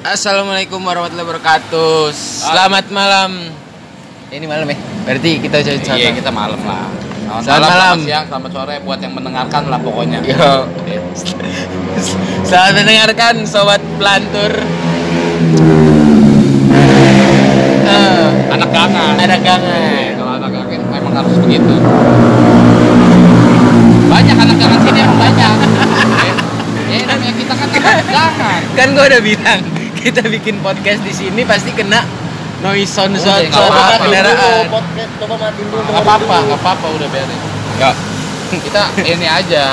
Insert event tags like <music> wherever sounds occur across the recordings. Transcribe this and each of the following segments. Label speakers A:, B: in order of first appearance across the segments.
A: Assalamualaikum warahmatullahi wabarakatuh.
B: Ah,
A: Selamat malam. Ini malam ya. Berarti kita jadi
B: Iya kita malam lah.
A: Selamat malam.
B: Selamat, malam,
A: Iya.
B: selamat siang, selamat sore buat yang mendengarkan lah pokoknya.
A: Yo. Selamat mendengarkan sobat pelantur. Eh,
B: Anak kangen. Eh,
A: ada kangen.
B: Kalau anak kangen memang harus begitu. Banyak anak kangen sini emang banyak. Eh, Ya namanya kita kan anak kangen.
A: Kan gua udah bilang kita bikin podcast di sini pasti kena noise sound
B: Udah,
A: sound
B: Oh, iya, nggak
A: sound
B: apa-apa.
A: kendaraan.
C: podcast coba matiin dulu
B: Gak apa-apa, gak apa-apa udah beres.
A: Ya.
B: Kita ini aja,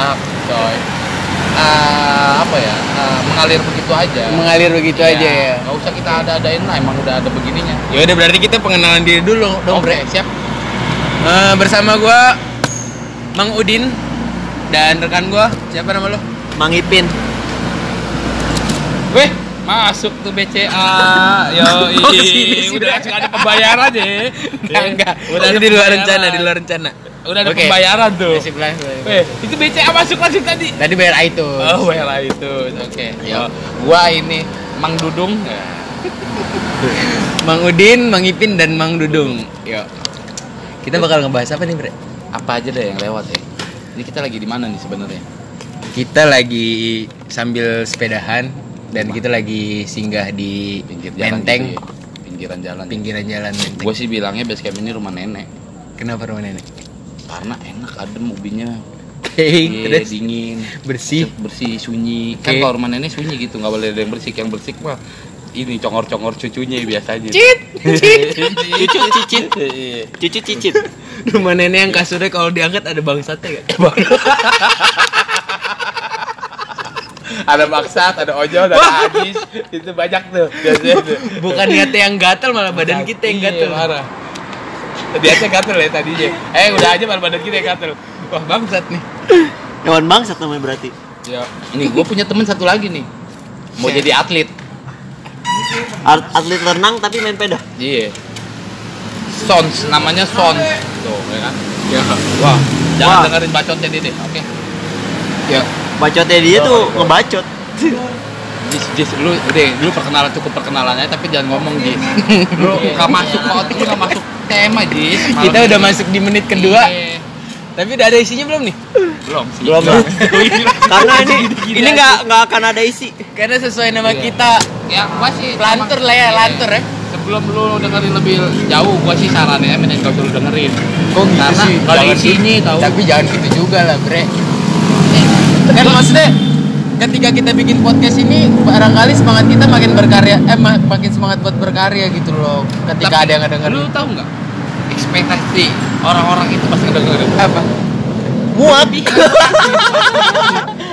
B: coy. Eh, apa ya? eh, mengalir begitu aja.
A: Mengalir begitu
B: Iya.
A: aja ya.
B: Gak usah kita ada-adain lah, emang udah ada begininya.
A: Ya udah berarti kita pengenalan diri dulu dong, Bre.
B: Oke, siap.
A: Eh, bersama gua Mang Udin dan rekan gua siapa nama lo?
C: Mang Ipin
B: Weh, masuk tuh BCA. Yo,
A: Kok
B: <laughs>
A: kesini sih,
B: udah
A: Bre?
B: langsung ada pembayaran <laughs> ya.
A: Enggak, <laughs> enggak.
B: Udah ada
A: Ini di luar
B: pembayaran.
A: rencana, di luar rencana.
B: Udah ada
A: Oke.
B: pembayaran tuh.
A: Nasib lah.
B: Weh, itu BCA masuk langsung tadi.
A: Tadi bayar iTunes.
B: Oh, Iya. well lah itu. Oke.
A: Yo.
B: Yo, gua ini Mang Dudung.
A: Mang Udin, Mang Ipin dan Mang Dudung. Yo. Kita bakal ngebahas apa nih, Bre?
B: Apa aja deh yang lewat ya? Ini kita lagi di mana nih sebenarnya?
A: Kita lagi sambil sepedahan dan kita lagi singgah di
B: Pinggir jalan.
A: Menteng,
B: gitu ya. Pinggiran jalan.
A: pinggiran jalan Menteng.
B: Gue sih bilangnya base camp ini rumah nenek
A: Kenapa rumah <laughs> nenek?
B: karena enak adem ubinya.
A: Oke,
B: Iya,
A: terus
B: dingin.
A: bersih.
B: bersih sunyi kan
A: Oke.
B: kalau rumah nenek sunyi gitu nggak boleh ada yang bersih yang bersih mah ini congor-congor cucunya biasanya
A: Cit, cit.
B: cucu cicit Iya,
C: Cucu cicit
A: <laughs> Rumah nenek yang kasurnya kalau diangkat ada bangsatnya gak?
B: ada maksat ada ojol ada agis itu banyak tuh biasanya tuh.
A: Bukan niatnya yang gatal malah badan kita yang
B: Iya,
A: gatal.
B: parah biasanya gatel ya tadinya eh udah aja malah badan kita yang gatel wah bangsat nih
C: Hewan bangsat namanya berarti
B: ya nih gue punya temen satu lagi nih mau jadi atlet
C: Art- Atlet renang tapi main peda
B: iya Sons, namanya Sons Tuh, ya kan? Wah, jangan
C: Wah.
B: dengerin bacotnya dia deh, oke?
A: Ya.
C: Bacotnya dia tuh ngebacot
B: Jis, Jis, lu deh, lu perkenalan cukup perkenalannya tapi jangan ngomong Jis. <laughs> Iya, Lu nggak masuk out, lu nggak masuk tema Jis. Malam
A: Kita udah
B: ini.
A: masuk di menit kedua,
B: Iya.
A: tapi udah ada isinya belum nih?
B: Belum ya? sih.
C: Belum lah Gitu. <laughs> Oh, iya. Karena ini ini nggak nggak akan ada isi
A: Karena sesuai nama
B: Iya.
A: kita
B: Ya, gua sih
A: lantur lah ya,
B: Iya.
A: lantur ya.
B: Sebelum lu dengerin lebih jauh, gua sih sarannya mending kau dulu dengerin.
A: Kok gitu
B: Karena
A: sih?
B: kalau
A: Jangan
B: isinya tahu.
A: Tapi jangan gitu juga lah, Bre. Kan maksudnya ketika kita bikin podcast ini barangkali semangat kita makin berkarya eh ma- makin semangat buat berkarya gitu loh ketika
B: Tapi
A: ada yang ngedenger
B: Lu tahu nggak? Ekspektasi orang-orang itu pasti ngedengerin.
A: apa
C: Muap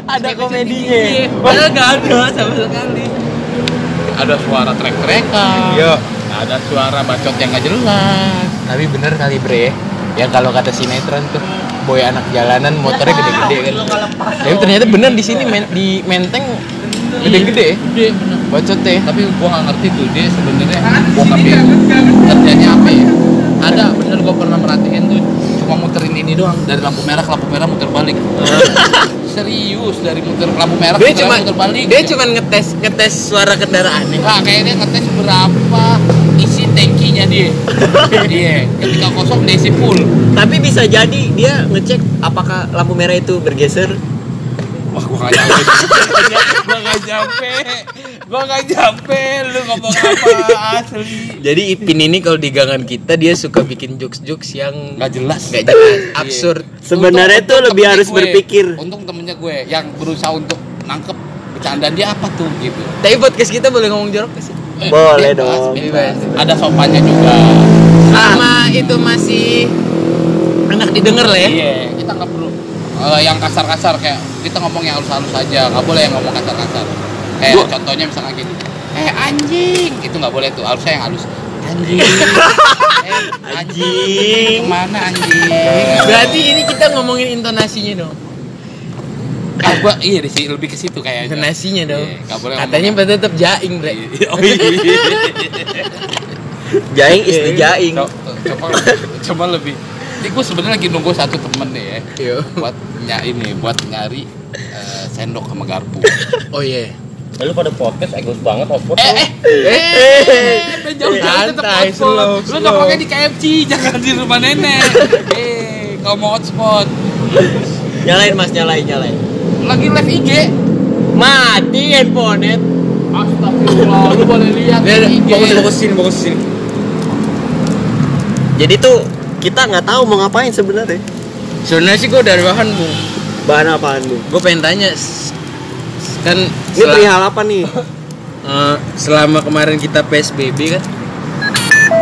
A: ada
B: Iya.
A: komedinya padahal gak ada sama sekali
B: Ada suara trek-trekan.
A: Iya.
B: Ada suara bacot yang nggak jelas.
A: tapi bener kali bre ya yang kalau kata sinetron tuh boy anak jalanan motornya gede-gede kan tapi ternyata bener di sini men- di menteng gede-gede ya.
B: Gede bener.
A: bacot ya
B: tapi gua nggak ngerti tuh dia sebenarnya bokapnya kerjanya apa ya ada bener gua pernah merhatiin tuh cuma muterin ini doang dari lampu merah ke lampu merah muter
A: <laughs>
B: balik serius dari muter lampu merah
A: dia
B: ke
A: cuma
B: muter balik
A: dia cuma ngetes ngetes suara kendaraan ya
B: Nah, kayaknya ngetes berapa isi tankinya
A: <laughs>
B: dia. Iya, ketika kosong dia isi full.
C: Tapi bisa jadi dia ngecek apakah lampu merah itu bergeser
B: Wah, gua gak nyampe. gua gak nyampe. Gua gak nyampe. Lu ngomong apa asli?
A: jadi Ipin ini kalau di gangan kita dia suka bikin jokes-jokes <laughs> yang
B: Gak jelas.
A: gak jelas absurd
C: Sebenarnya
B: Untung-
C: tuh
B: untung
C: lebih
B: temennya
C: harus
B: gue.
C: berpikir.
B: Untung temennya gue yang berusaha untuk nangkep bercandaan dia apa tuh gitu.
A: tapi podcast kita boleh ngomong jorok gak sih
B: Eh,
C: Boleh
B: bebas,
C: dong. Ah.
B: bebas. Ada sopannya juga.
A: sama itu masih enak didengar lah ya
B: Iya, kita nggak perlu eh, yang kasar-kasar kayak kita ngomong yang halus-halus aja, nggak boleh yang ngomong kasar-kasar. Kayak
C: Gua-
B: contohnya misalkan gini, eh anjing, itu nggak boleh tuh, harusnya yang halus. Anjing. eh, anjing. Kemana anjing?
A: berarti ini kita ngomongin intonasinya dong
B: Kalau gua iya sih lebih ke situ kayaknya.
A: intonasinya dong
B: Iya, nggak boleh
A: katanya tetap jaing bre <laughs>
B: Oh, iya.
C: Jaing is the jaing
B: Co- coba coba lebih ini gue sebenarnya lagi nunggu satu temen nih ya
A: Yo.
B: buat ny ini buat nyari eh, sendok sama garpu
A: oh iya
D: Eh, lu pada podcast egois banget Oxford
B: Eh,
D: lu.
B: eh, eh, eh, jauh jauh tetap
A: Santai, slow,
B: hotspot. Lu nongkrongnya di KFC, jangan di rumah nenek. Eh, kalau mau hotspot,
C: Nyalain mas, nyalain, nyalain.
B: lagi live IG.
C: Mati handphone
B: Astagfirullah, lu boleh lihat
A: Iya,
B: di IG.
A: Fokus fokus sini, fokus sini.
C: Jadi tuh kita nggak tahu mau ngapain sebenarnya.
A: Sebenarnya sih gue dari bahan bu.
C: Bahan apaan lu?
A: Gue pengen tanya s- s- kan
C: Ini
A: sel-
C: perihal apa nih?
A: eh, selama kemarin kita PSBB kan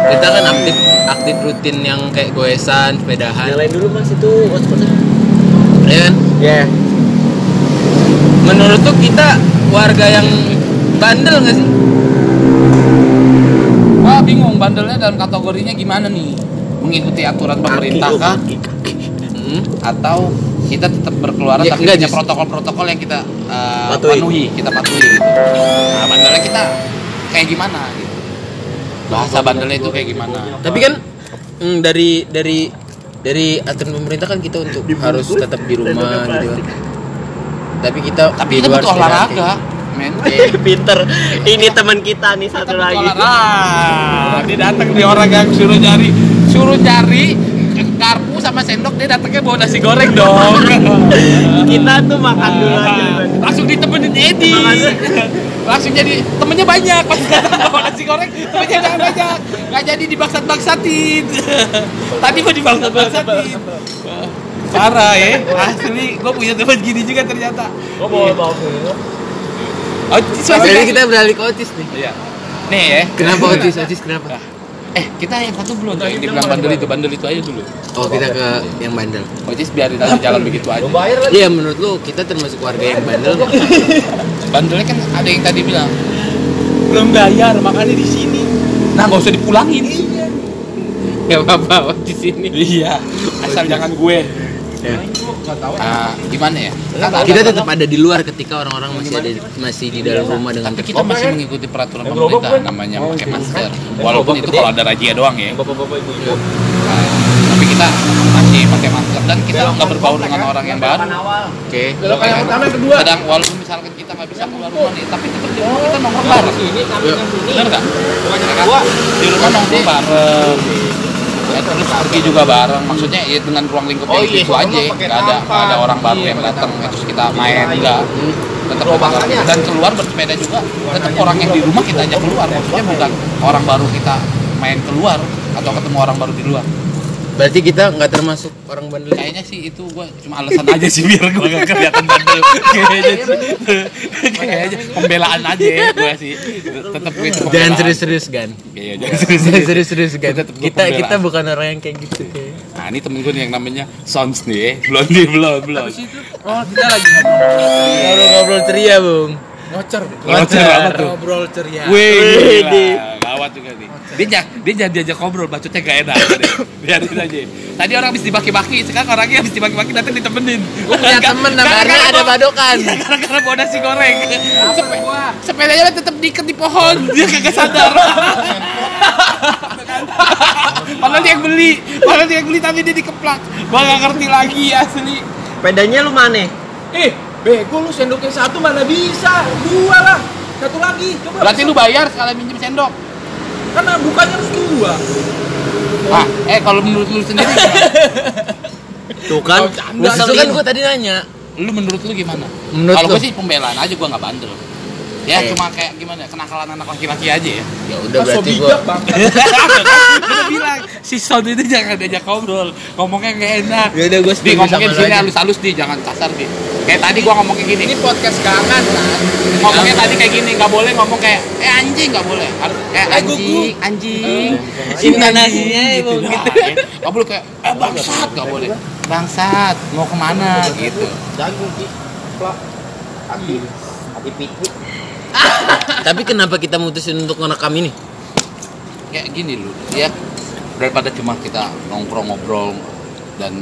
A: kita kan aktif aktif rutin yang kayak goesan, sepedahan,
C: <laughs> Nyalain dulu mas itu hotspotnya.
A: ya kan?
C: Ya.
A: Menurut tuh kita warga yang bandel nggak sih?
B: Wah, bingung bandelnya dalam kategorinya gimana nih? Mengikuti aturan pemerintah
C: Kaki,
B: kah?
C: kaki, kaki.
A: Hmm.
B: Atau kita tetap berkeluaran
A: Ya,
B: tapi
A: enggak,
B: punya
A: justru-
B: protokol-protokol yang kita eh,
C: Patuhi.
B: penuhi, kita patuhi gitu. Nah, bandelnya kita kayak gimana gitu. Bahasa bandelnya itu kayak gimana?
A: Tapi kan mm, dari dari dari aturan pemerintah kan kita untuk harus tetap di rumah gitu kan. Tapi kita
B: Tapi
A: di
B: kita
A: luar
B: butuh
A: sepeda
B: olahraga, men.
C: <laughs> Pinter. Ini teman kita nih satu lagi.
B: Ah, dia datang di orang yang suruh nyari, suruh cari karpu sama sendok dia datangnya bawa nasi goreng
C: <laughs>
B: dong.
C: Kita tuh makan dulu aja.
B: Ah, langsung ditemenin Edi. Langsung jadi temennya banyak pas datang bawa nasi goreng, temennya jangan banyak. Gak jadi dibaksat-baksatin. <laughs> Tadi gua dibaksat-baksatin. Parah ya, asli gua punya teman gini juga ternyata.
D: Gua bawa bawa dulu.
B: Oh, siswa
A: Jadi
B: sih,
A: kita beralih ke Otis nih.
B: Iya. Nih ya.
A: Kenapa Otis? Otis kenapa?
B: Eh, kita yang satu belum tuh yang dibilang bandel itu, bandel itu aja dulu.
A: Oh kita ke yang bandel.
B: Ocis biarin aja jalan begitu aja.
D: Lu bayar lagi.
A: Iya menurut lu kita termasuk warga yang bandel nggak?
B: Bandelnya kan ada yang tadi bilang,
C: Belum bayar, makanya di sini.
B: nah nggak usah dipulangin. Iya.
A: Gak apa-apa di sini.
B: Iya. Asal jangan gue.
A: Ya.
B: Ah, gimana ya?
A: Kita tetap ada di luar ketika orang-orang masih ada masih di dalam rumah dengan
B: tapi kan? kita masih mengikuti peraturan
D: Yang gerobak
B: pemerintah
D: kan?
B: namanya pakai masker. Walaupun iya. itu
D: gede.
B: kalau ada razia doang ya.
D: Bapak-bapak ibu-ibu.
B: Nah, tapi kita masih pakai masker dan kita nggak berbaur dengan orang
D: Kan?
B: yang baru.
A: Oke.
B: Belokan yang pertama kedua. Kadang walaupun misalkan kita nggak bisa keluar rumah nih, tapi tetap di rumah kita nongkrong bareng. Iya.
A: Yuk.
B: Bener nggak? Ya kan? Di rumah nongkrong bareng. Ya, terus pergi juga bareng. Maksudnya ya dengan ruang lingkup yang itu aja, nggak ada nggak ada orang baru yang datang. Ya, Terus kita main enggak tetap keluar. dan keluar bersepeda juga tetap orang yang di rumah kita ajak keluar maksudnya bukan orang baru kita main keluar atau ketemu orang baru di luar
A: Berarti kita nggak termasuk orang bandel.
B: kayaknya sih itu gue cuma alasan aja sih biar gue gak kelihatan bandel kayaknya sih kayaknya pembelaan aja ya gue sih tetap gue itu
A: Jangan
B: pembelaan.
A: serius-serius gan.
B: iya jangan serius
A: Jangan serius-serius gan.
B: Kita tetap
A: Kita
B: pembelaan.
A: kita bukan orang yang kayak gitu.
B: nah ini temen gue nih yang namanya Sons nih belum nih belum belum
A: Oh kita lagi ngobrol-ngobrol ceria bung.
B: Ngocer apa tuh?
A: Ngobrol ceria.
B: Wih, gila. Gawat juga nih. Dia ja- dia jangan diajak ngobrol, bacotnya gak enak. deh. Biarin aja. Tadi orang habis dibaki-baki, sekarang orangnya habis dibaki-baki datang ditemenin. Gua
A: punya temen namanya ada badokan.
B: Iya, <laughs> gara-gara bawa nasi goreng. Sepe sepedanya udah tetep diikat di pohon, dia kagak
A: <laughs>
B: sadar. Padahal dia yang beli, padahal dia yang beli tapi dia dikeplak. Gua gak ngerti lagi asli.
C: Pedanya lu mana?
E: Eh, bego lu sendoknya satu mana bisa? Dua lah. Satu lagi. Coba.
B: Berarti lu bayar sekali minjem sendok.
E: Karena bukannya harus dua.
B: Ah, eh kalau menurut lu sendiri gimana?
C: Tuh
D: Oh,
C: kan,
A: Nah, itu kan
C: ngeselin.
A: gue tadi nanya.
B: lu menurut lu gimana?
A: Menurut
B: Kalau
A: lu?
B: gue sih pembelaan aja gue nggak bandel. Ya
A: Eh.
B: cuma kayak gimana kenakalan anak laki-laki aja
A: <laughs>
B: ya.
A: Ya udah
E: Mas, so
A: berarti gue.
E: bijak, Bang.
B: Gue bilang si Son itu jangan diajak ngobrol, ngomongnya nggak enak.
A: Ya udah gue
B: Di
A: setuju sama
B: ngomongnya di
A: lu
B: sini
A: aja.
B: halus-halus di, jangan kasar di. Kayak tadi gue ngomongnya gini,
E: Ini podcast kangen kan.
B: ngomongnya tadi kayak gini, nggak boleh ngomong kayak eh anjing nggak boleh. Harus kayak
E: Eh, gugu.
B: anjing, anjing. Iya,
C: Intonasinya
B: anjing,
C: emang
B: gitu.
C: gitu.
B: Nah, ya. <laughs> Nggak boleh kayak eh bangsat nggak boleh. Bangsat mau kemana gitu.
D: Jagung sih. Plak. Hati. Hati pikir.
A: <laughs> Tapi kenapa kita mutusin untuk ngerekam ini?
B: kayak gini loh ya daripada cuma kita nongkrong ngobrol dan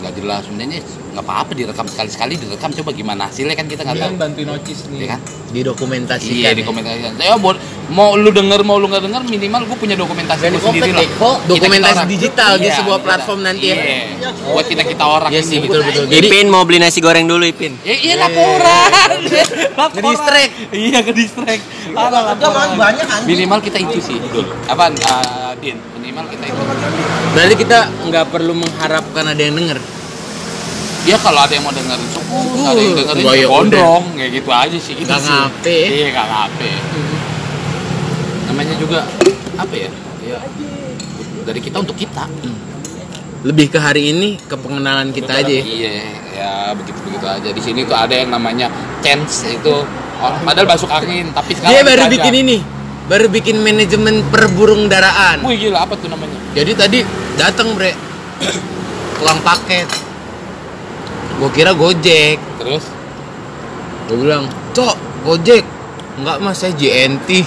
B: nggak jelas sebenarnya nggak apa-apa direkam sekali-sekali direkam coba gimana hasilnya kan kita nggak
A: Iya,
E: Dia
B: tahu
E: kan bantuin Ocis
B: ya
E: nih.
B: kan
C: didokumentasikan.
B: iya di komentasi ya buat mau lu denger mau lu nggak denger minimal gue punya dokumentasi
A: Dan
B: gue
A: komplek
B: sendiri lah
A: Deko,
B: Kita-kita
A: ya, dokumentasi
B: orang. Iya,
A: digital di sebuah
B: kita-
A: platform nanti ya.
B: iya. buat kita kita orang
A: Iya
B: ini.
A: sih, betul betul. Jadi
C: Ipin mau beli nasi goreng dulu Ipin.
B: ya iya laporan
A: <laughs>
B: laporan
A: Ngedistract.
B: iya ke distract parah laporan banyak minimal kita itu sih Dul. apaan eh, Din minimal kita itu
A: berarti kita nggak perlu mengharapkan ada yang denger.
B: ya kalau ada yang mau dengerin syukur ada yang dengerin
A: Wah, ya
B: ya gondong kayak gitu aja sih kita
A: Nggak
B: sih.
A: ngape.
B: iya nggak ngape namanya juga apa ya ya dari kita untuk kita
A: Lebih ke hari ini ke pengenalan kita aja. ya.
B: iya ya begitu begitu aja di sini tuh ada yang namanya chance itu orang padahal masuk angin tapi sekarang
A: Dia baru
B: diajak.
A: bikin ini, baru bikin manajemen perburung daraan.
B: wih gila apa tuh namanya
A: Jadi tadi datang bre, uang paket. Gue kira Gojek.
B: terus
A: Gue bilang, cok Gojek. Enggak mas, saya JNT.
B: <laughs>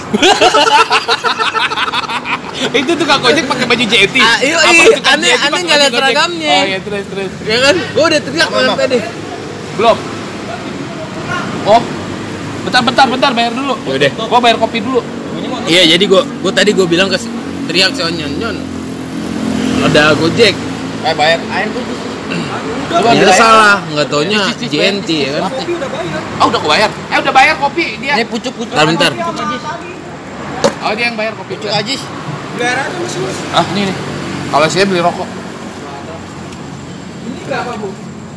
B: itu tuh kak Gojek pakai baju JT.
A: Ah, iya,
B: Apa
A: iya.
B: itu kan
A: Aneh-
B: JT pakai
A: aneh nggak
B: baju
A: lihat
B: Gojek?
A: seragamnya.
B: Oh iya terus terus.
A: <laughs> ya kan? Gue udah teriak malam tadi.
B: Belum. Oh. Bentar bentar bentar bayar dulu.
A: Yaudah.
B: Ya Gua bayar kopi dulu.
A: Iya jadi gue gue tadi gue bilang ke si- teriak si Onyon Nyon ada Gojek
D: Eh bayar air tuh.
A: Gua
D: bayar. Iya,
A: ada salah nggak taunya
B: Cis, cis, bayar,
A: JNT
B: cis, cis,
A: ya kan
B: kopi. Oh udah gua bayar. Eh udah bayar kopi
D: Iya.
B: dia.
A: ini pucuk pucuk bentar bentar
B: Oh dia yang bayar kopi.
D: Cuk aja.
E: Beler aja Mas Yus.
B: Ah ini nih. Kalau saya beli rokok.
E: Ini berapa, Bu?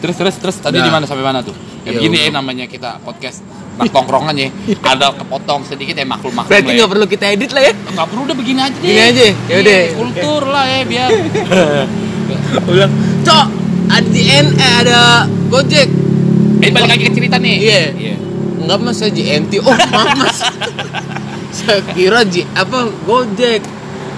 B: Terus terus terus tadi
A: Nah.
B: di mana sampai mana tuh? Ya
A: Ya,
B: begini ya
A: udah.
B: namanya kita podcast Nah, tongkrongan ya, ada kepotong sedikit ya maklum-maklum
A: berarti
B: lah ya.
A: nggak perlu kita edit lah ya
B: Nggak perlu udah begini aja deh.
A: Gini aja, ya yaudah.
B: Iya, Kultur lah ya biar.
A: <laughs> ulang cok ada JN eh ada Gojek
B: Eh balik lagi ke cerita nih.
A: Iya. nggak mas saya JNT oh maaf mas saya kira J apa Gojek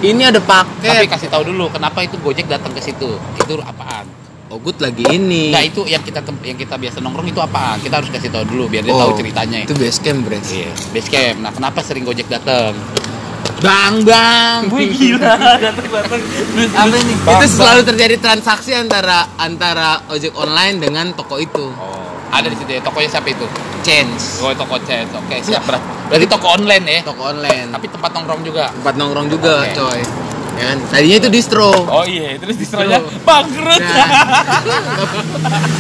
A: ini ada
B: Tapi
A: paket
B: kasih tahu dulu kenapa itu Gojek datang ke situ. Itu apaan?
A: oh good lagi ini
B: Enggak itu yang kita tem- yang kita biasa nongkrong itu apaan? Kita harus kasih tahu dulu biar dia tahu
A: Oh,
B: ceritanya.
A: itu base camp bre
B: Iya, base camp. Nah, kenapa sering Gojek datang?
A: bang bang
B: gila datang-datang.
A: apa ini? itu selalu terjadi transaksi antara antara ojek online dengan toko itu
B: Oh, ada di situ ya. Tokonya siapa itu?
A: change
B: Oh, toko Cez.
E: Iya.
B: Oke, siap. Ber- Berarti toko online ya.
A: toko online
B: Tapi tempat nongkrong juga.
A: tempat nongkrong juga
B: Oke.
A: coy ya kan tadinya itu
B: <laughs>
A: distro
B: Oh iya, terus diserahnya
A: Tuh.
B: bangkrut.
A: Nah.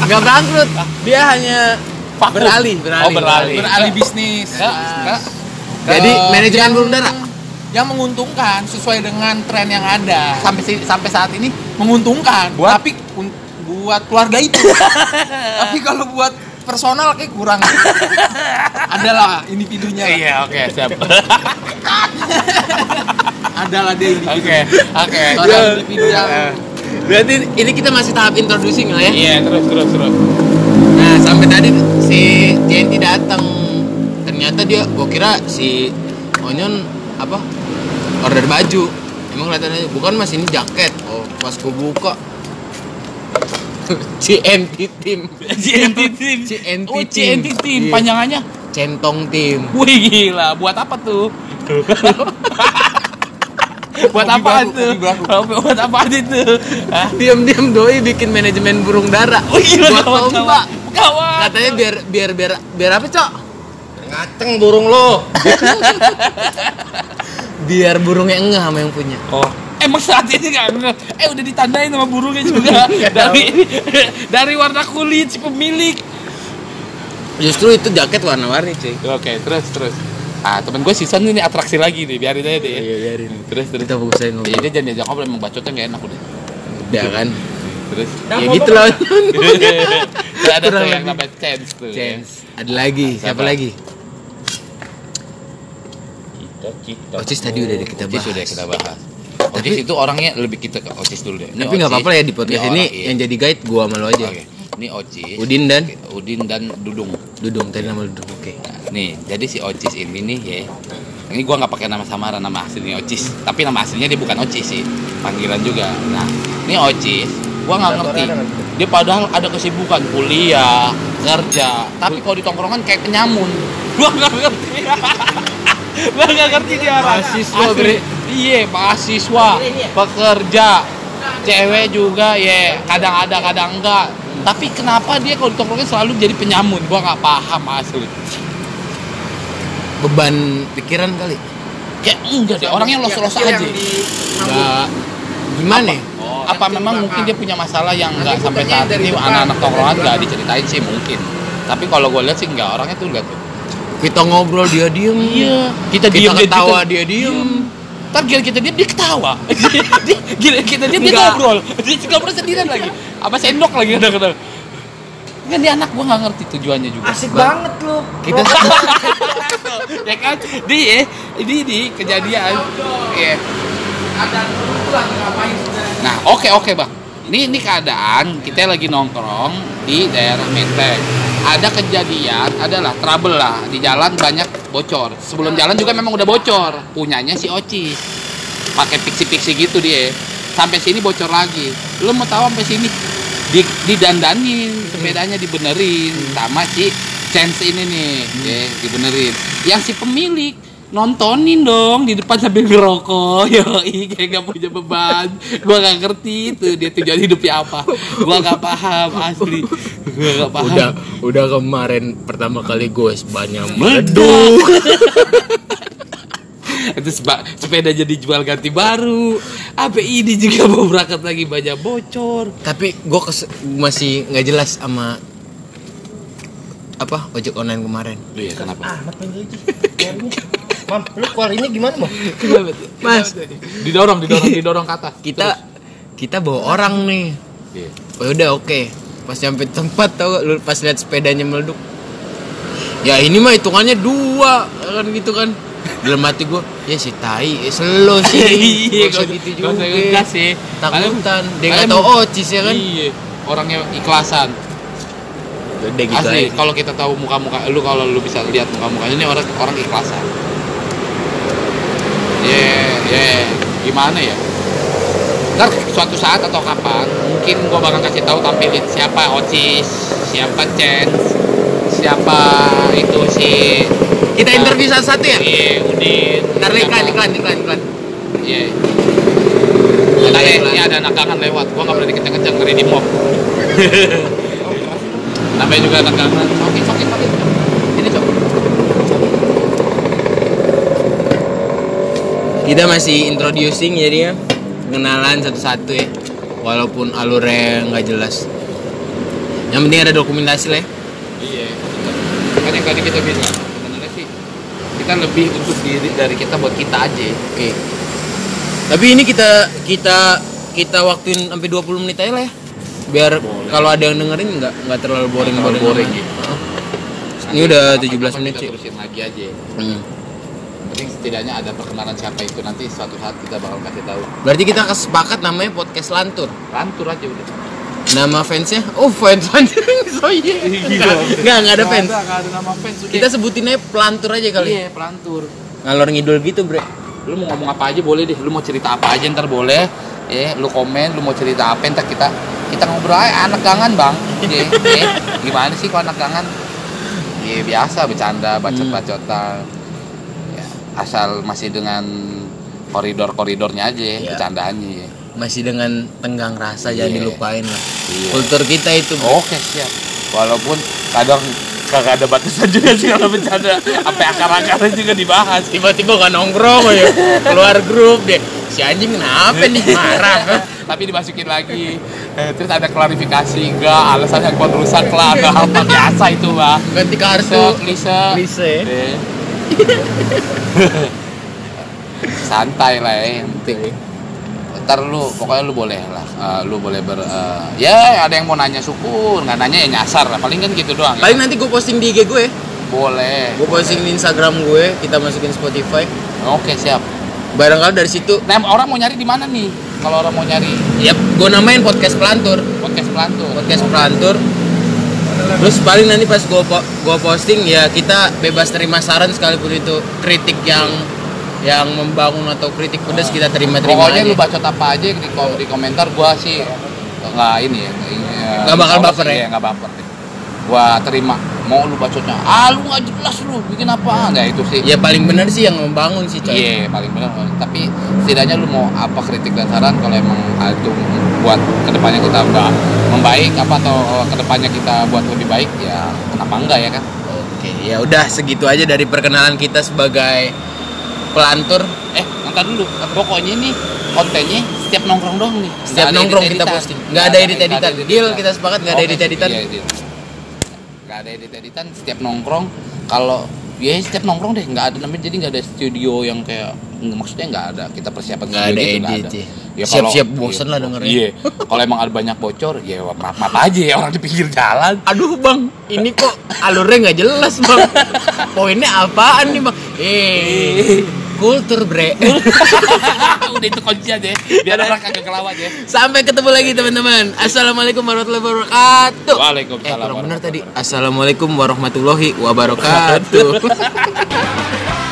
A: nggak bangkrut dia hanya
B: Vakum.
A: beralih beralih
B: Oh, beralih.
E: Beralih bisnis. Nah.
B: Ya, enggak.
A: jadi
E: Eh,
A: manajemen
E: yang-
A: burung darah
E: yang menguntungkan sesuai dengan tren yang ada
B: Nah, sampai si- sampai saat ini
E: menguntungkan
B: Buat?
E: tapi un- buat keluarga itu <laughs> tapi kalau buat personal kayak
B: <laughs>
E: kurang adalah individunya lah.
B: Iya, oke, <laughs> siap.
E: adalah dia individu
B: Oke, oke.
E: seorang individu yang
B: Eh,
A: Iya. berarti ini kita masih tahap introducing lah ya
B: Iya, terus terus terus.
A: nah sampai tadi si JNT datang ternyata dia gua kira si Onyon apa order baju emang kelihatannya bukan mas ini jaket oh pas gua buka <laughs> JNT team
B: JNT Team.
A: JNT
B: Oh,
A: Team.
B: JNT Team.
A: Iya.
B: Panjangannya?
A: centong team
B: Wih gila, buat apa tuh? <laughs> buat
E: Hobi
B: apa
E: baru,
B: tuh?
E: hobi baru.
B: Hobi- buat apa aja tuh? Hah?
A: diam-diam doi bikin manajemen burung dara Oh, iya,
B: Wih gila,
A: Buat
B: kawan,
A: lomba.
B: kawan. Kawan.
A: katanya biar biar biar biar apa cok
D: Ngaceng burung lo.
A: <laughs> biar burungnya enggak sama yang punya
B: Oh. Emang saat ini nggak bener. Eh udah ditandain sama <laughs> burungnya juga dari dari warna kulit si pemilik.
A: justru itu jaket warna-warni cuy
B: Oke, terus terus. Ah temen gue season ini atraksi lagi nih, biarin Iya, aja deh.
A: Iya, biarin.
B: Terus terus.
A: kita fokus aja
B: Jadi
A: ngomong
B: dia jangan diajak ngobrol, emang bacotnya nggak enak udah.
A: udah kan
B: Terus.
A: ya gitu loh
B: <laughs> Terus ada
A: Kurang
B: tuh
A: lebih.
B: yang namanya chance tuh. ya.
A: Chance. Ada lagi, siapa
B: Siapa?
A: lagi?
B: Kita, kita.
A: Ocis tadi udah kita
B: Ocis
A: bahas.
B: udah kita bahas. Ocis itu orangnya lebih kita ke Ocis dulu deh. Ini
A: Tapi nggak
B: Ocis,
A: apa-apa lah ya di podcast
B: orang,
A: ini
B: iya.
A: yang jadi guide gua sama lo aja.
B: Oke. Ini Ocis.
A: Udin dan
B: Udin dan Dudung.
A: Dudung tadi nama Dudung. Oke.
B: Nah, nih, jadi si Ocis ini nih ya. Ini gua nggak pakai nama samaran nama aslinya Ocis, tapi nama aslinya dia bukan Ocis sih. Panggilan juga. Nah, ini Ocis, gua nggak ngerti. Dia padahal ada kesibukan kuliah, kerja, tapi kalau di tongkrongan kayak penyamun. Gua nggak ngerti. gua nggak ngerti dia. orang.
A: Mahasiswa,
B: Asli.
A: Bre.
B: Iya, mahasiswa, pekerja, cewek juga ya kadang ada kadang enggak tapi kenapa dia kalau ditongkrongin selalu jadi penyamun gua nggak paham asli
A: beban pikiran kali
B: kayak enggak deh orangnya los los aja
A: nggak gimana ya?
B: apa memang mungkin dia punya masalah yang nggak sampai
D: fotonya
B: saat
D: dari
B: ini
D: depan,
B: anak-anak
D: dari
B: tongkrongan nggak
D: belakang.
B: diceritain sih mungkin tapi kalau gue lihat sih nggak orangnya tuh lihat tuh
A: kita ngobrol dia diem
B: Iya.
A: kita
B: kita, diem gitu. dia-
A: ketawa
B: kita-
A: dia diem
B: ntar gila kita dia dia ketawa <laughs> dia gila kita dia dia
C: Enggak.
B: ngobrol <laughs> dia ngobrol sendirian lagi apa sendok lagi kadang-kadang kan dia anak gue nggak ngerti tujuannya juga
D: Asik banget lu.
A: kita
B: <laughs> ya kan dia ini di kejadian ya
E: Ada lu tuh lagi ngapain sebenarnya?
B: Nah, oke oke bang. Ini ini keadaan kita lagi nongkrong di daerah Menteng. Ada kejadian, adalah trouble lah di jalan banyak bocor. Sebelum jalan juga memang udah bocor. Punyanya si Oci. Pakai piksi-piksi gitu dia. Sampai sini bocor lagi. Lu mau tahu sampai sini di didandanin, sepedanya dibenerin sama si Chance ini nih, ya, dibenerin. Yang si pemilik nontonin dong di depan sambil ngerokok <laughs> yoi kayak gak punya beban gua gak ngerti itu dia tujuan hidupnya apa gua gak paham asli gua gak paham
A: udah udah kemarin pertama kali gue banyak
B: <laughs> meleduk terus ba- sepeda jadi jual ganti baru apa ini juga mau berangkat lagi banyak bocor
A: tapi gue masih nggak jelas sama apa ojek online kemarin
B: iya
D: Ah,
B: kenapa
D: Mam, lu keluarinnya gimana, Mam?
C: Mas,
A: <laughs>
B: didorong didorong didorong ke atas
A: kita kita bawa orang nih
B: Iya.
A: oh, udah oke pas nyampe tempat tau gak lu pas lihat sepedanya meleduk ya ini mah hitungannya dua kan gitu kan dalam hati gue ya si tai eh, selo sih
B: <laughs> Iya,
A: Gak usah
B: gak-
A: gitu
B: gak usah
A: juga
B: ngegas sih.
A: takutan dia nggak
B: kalian-
A: tahu ocis ya kan
B: iya orangnya ikhlasan
A: udah gitu
B: asli
A: aja
B: kalau kita tahu muka-muka lu kalau lu bisa lihat muka-mukanya ini orang orang ikhlasan ya gimana ya ntar suatu saat atau kapan mungkin gua bakal kasih tahu tampilin siapa Ocis siapa Chance siapa itu si eh,
A: kita interview satu-satu ya
B: iya Udin
A: ntar nih, iklan
B: siapa-
A: iklan iklan iklan
B: iya
A: Ada
B: ada
A: iklan.
B: ini ada nakangan lewat gua nggak berani kenceng-kenceng ngeri di
A: <laughs>
B: mob namanya juga nakangan sokin sokin sokin ini sok
A: kita masih introducing jadinya pengenalan satu-satu ya walaupun alurnya nggak jelas yang penting ada dokumentasi lah ya.
B: Iya. Kan yang tadi kita bilang, sebenarnya sih kita lebih untuk diri dari kita buat kita aja.
A: oke tapi ini kita kita kita waktuin sampai 20 menit aja lah ya biar
B: Boleh.
A: kalau ada yang dengerin nggak nggak terlalu boring
B: Terlalu boring
A: amat.
B: gitu.
A: Heeh. ini udah
B: Nanti
A: 17
B: kapan-kapan
A: menit
B: kita
A: sih
B: Terusin lagi aja.
A: Hmm.
B: Penting setidaknya ada perkenalan siapa itu nanti suatu saat kita bakal kasih tahu.
A: berarti kita kesepakat namanya podcast lantur
B: Lantur aja udah.
A: nama fansnya oh fans anjing <laughs> so iya nggak nggak ada
E: Nggak
A: fans
E: Ada, nggak ada nama fans. Iya, udah.
A: kita sebutinnya pelantur aja kali
B: Iya, pelantur.
A: ngalor ngidul gitu bre
B: Lu mau ngomong apa aja boleh deh. Lu mau cerita apa aja ntar boleh. Eh, lu komen, lu mau cerita apa ntar kita kita ngobrol aja Ah, anak gangan bang. Iya, iya. gimana sih kalau anak gangan? Iya biasa bercanda, bacot-bacotan. Ya, asal masih dengan koridor-koridornya aja,
A: Iya.
B: bercandaannya. ya.
A: masih dengan tenggang rasa jangan
B: Iya.
A: dilupain lah
B: Iya.
A: kultur kita itu bro.
B: Oke siap. Walaupun kadang kagak ada batasan juga sih kalau bercanda. Sampai akar-akarnya juga dibahas.
A: tiba-tiba gak nongkrong ya keluar grup deh si anjing kenapa nih marah kan?
B: tapi dimasukin lagi Eh, terus ada klarifikasi enggak alasannya kuat rusak lah enggak Nah, apa biasa itu mah
A: ganti
B: klise
A: kartu
B: klise
A: klise ya.
B: Eh. santai lah ya yang penting ntar lu pokoknya lu boleh lah eh, lu boleh ber eh, ya ada yang mau nanya syukur nggak nanya ya nyasar lah paling kan gitu doang ya.
A: paling nanti gue posting di IG gue
B: boleh
A: gue posting di Instagram gue kita masukin Spotify
B: oke siap
A: barangkali dari situ
B: nah orang mau nyari di mana nih kalau orang mau nyari
A: ya gue namain podcast pelantur
B: podcast pelantur
A: podcast pelantur terus paling nanti pas gua po- gua posting ya kita bebas terima saran sekalipun itu kritik yang yang membangun atau kritik pedas kita terima terima
B: Pokoknya lu bacot apa aja di, kom- di komentar gua sih nggak ini ya.
A: Nggak bakal baper ya?
B: Enggak iya, baper. deh. gua terima mau lu bacotnya ah lu nggak jelas lu bikin apaan ya itu sih
A: ya paling benar sih yang membangun sih coy
B: Iya paling benar. Tapi setidaknya lu mau apa kritik dan saran kalau emang itu buat kedepannya kita ba- membaik apa atau kedepannya kita buat lebih baik ya kenapa enggak ya kan?
A: oke ya udah segitu aja dari perkenalan kita sebagai pelantur
B: Eh nonton dulu. Pokoknya nih kontennya setiap nongkrong doang nih.
A: setiap nongkrong kita posting nggak ada edit editan deal kita sepakat nggak ada edit editan
B: iya, Nggak ada edit editan setiap nongkrong kalau ya setiap nongkrong deh nggak ada namanya jadi nggak ada studio yang kayak maksudnya nggak ada kita persiapan
A: Nggak ada
B: studio gitu,
A: edit
B: nggak ada.
A: ya.
B: Ya,
A: Siap-siap
B: kalau-
A: bosen
B: iya,
A: lah dengernya.
B: Iya. Kalau emang ada banyak bocor, ya maaf maaf aja ya orang di pinggir jalan. <laughs>
A: aduh bang ini kok alurnya nggak jelas bang <laughs> poinnya apaan nih bang eh kultur bre
B: Udah itu kunci aja. ya. Biar orang kagak kelawat ya.
A: <laughs> sampai ketemu lagi teman-teman assalamualaikum warahmatullahi wabarakatuh eh kurang
B: Waalaikumsalam
A: benar
B: warahmatullahi
A: <laughs> tadi assalamualaikum warahmatullahi wabarakatuh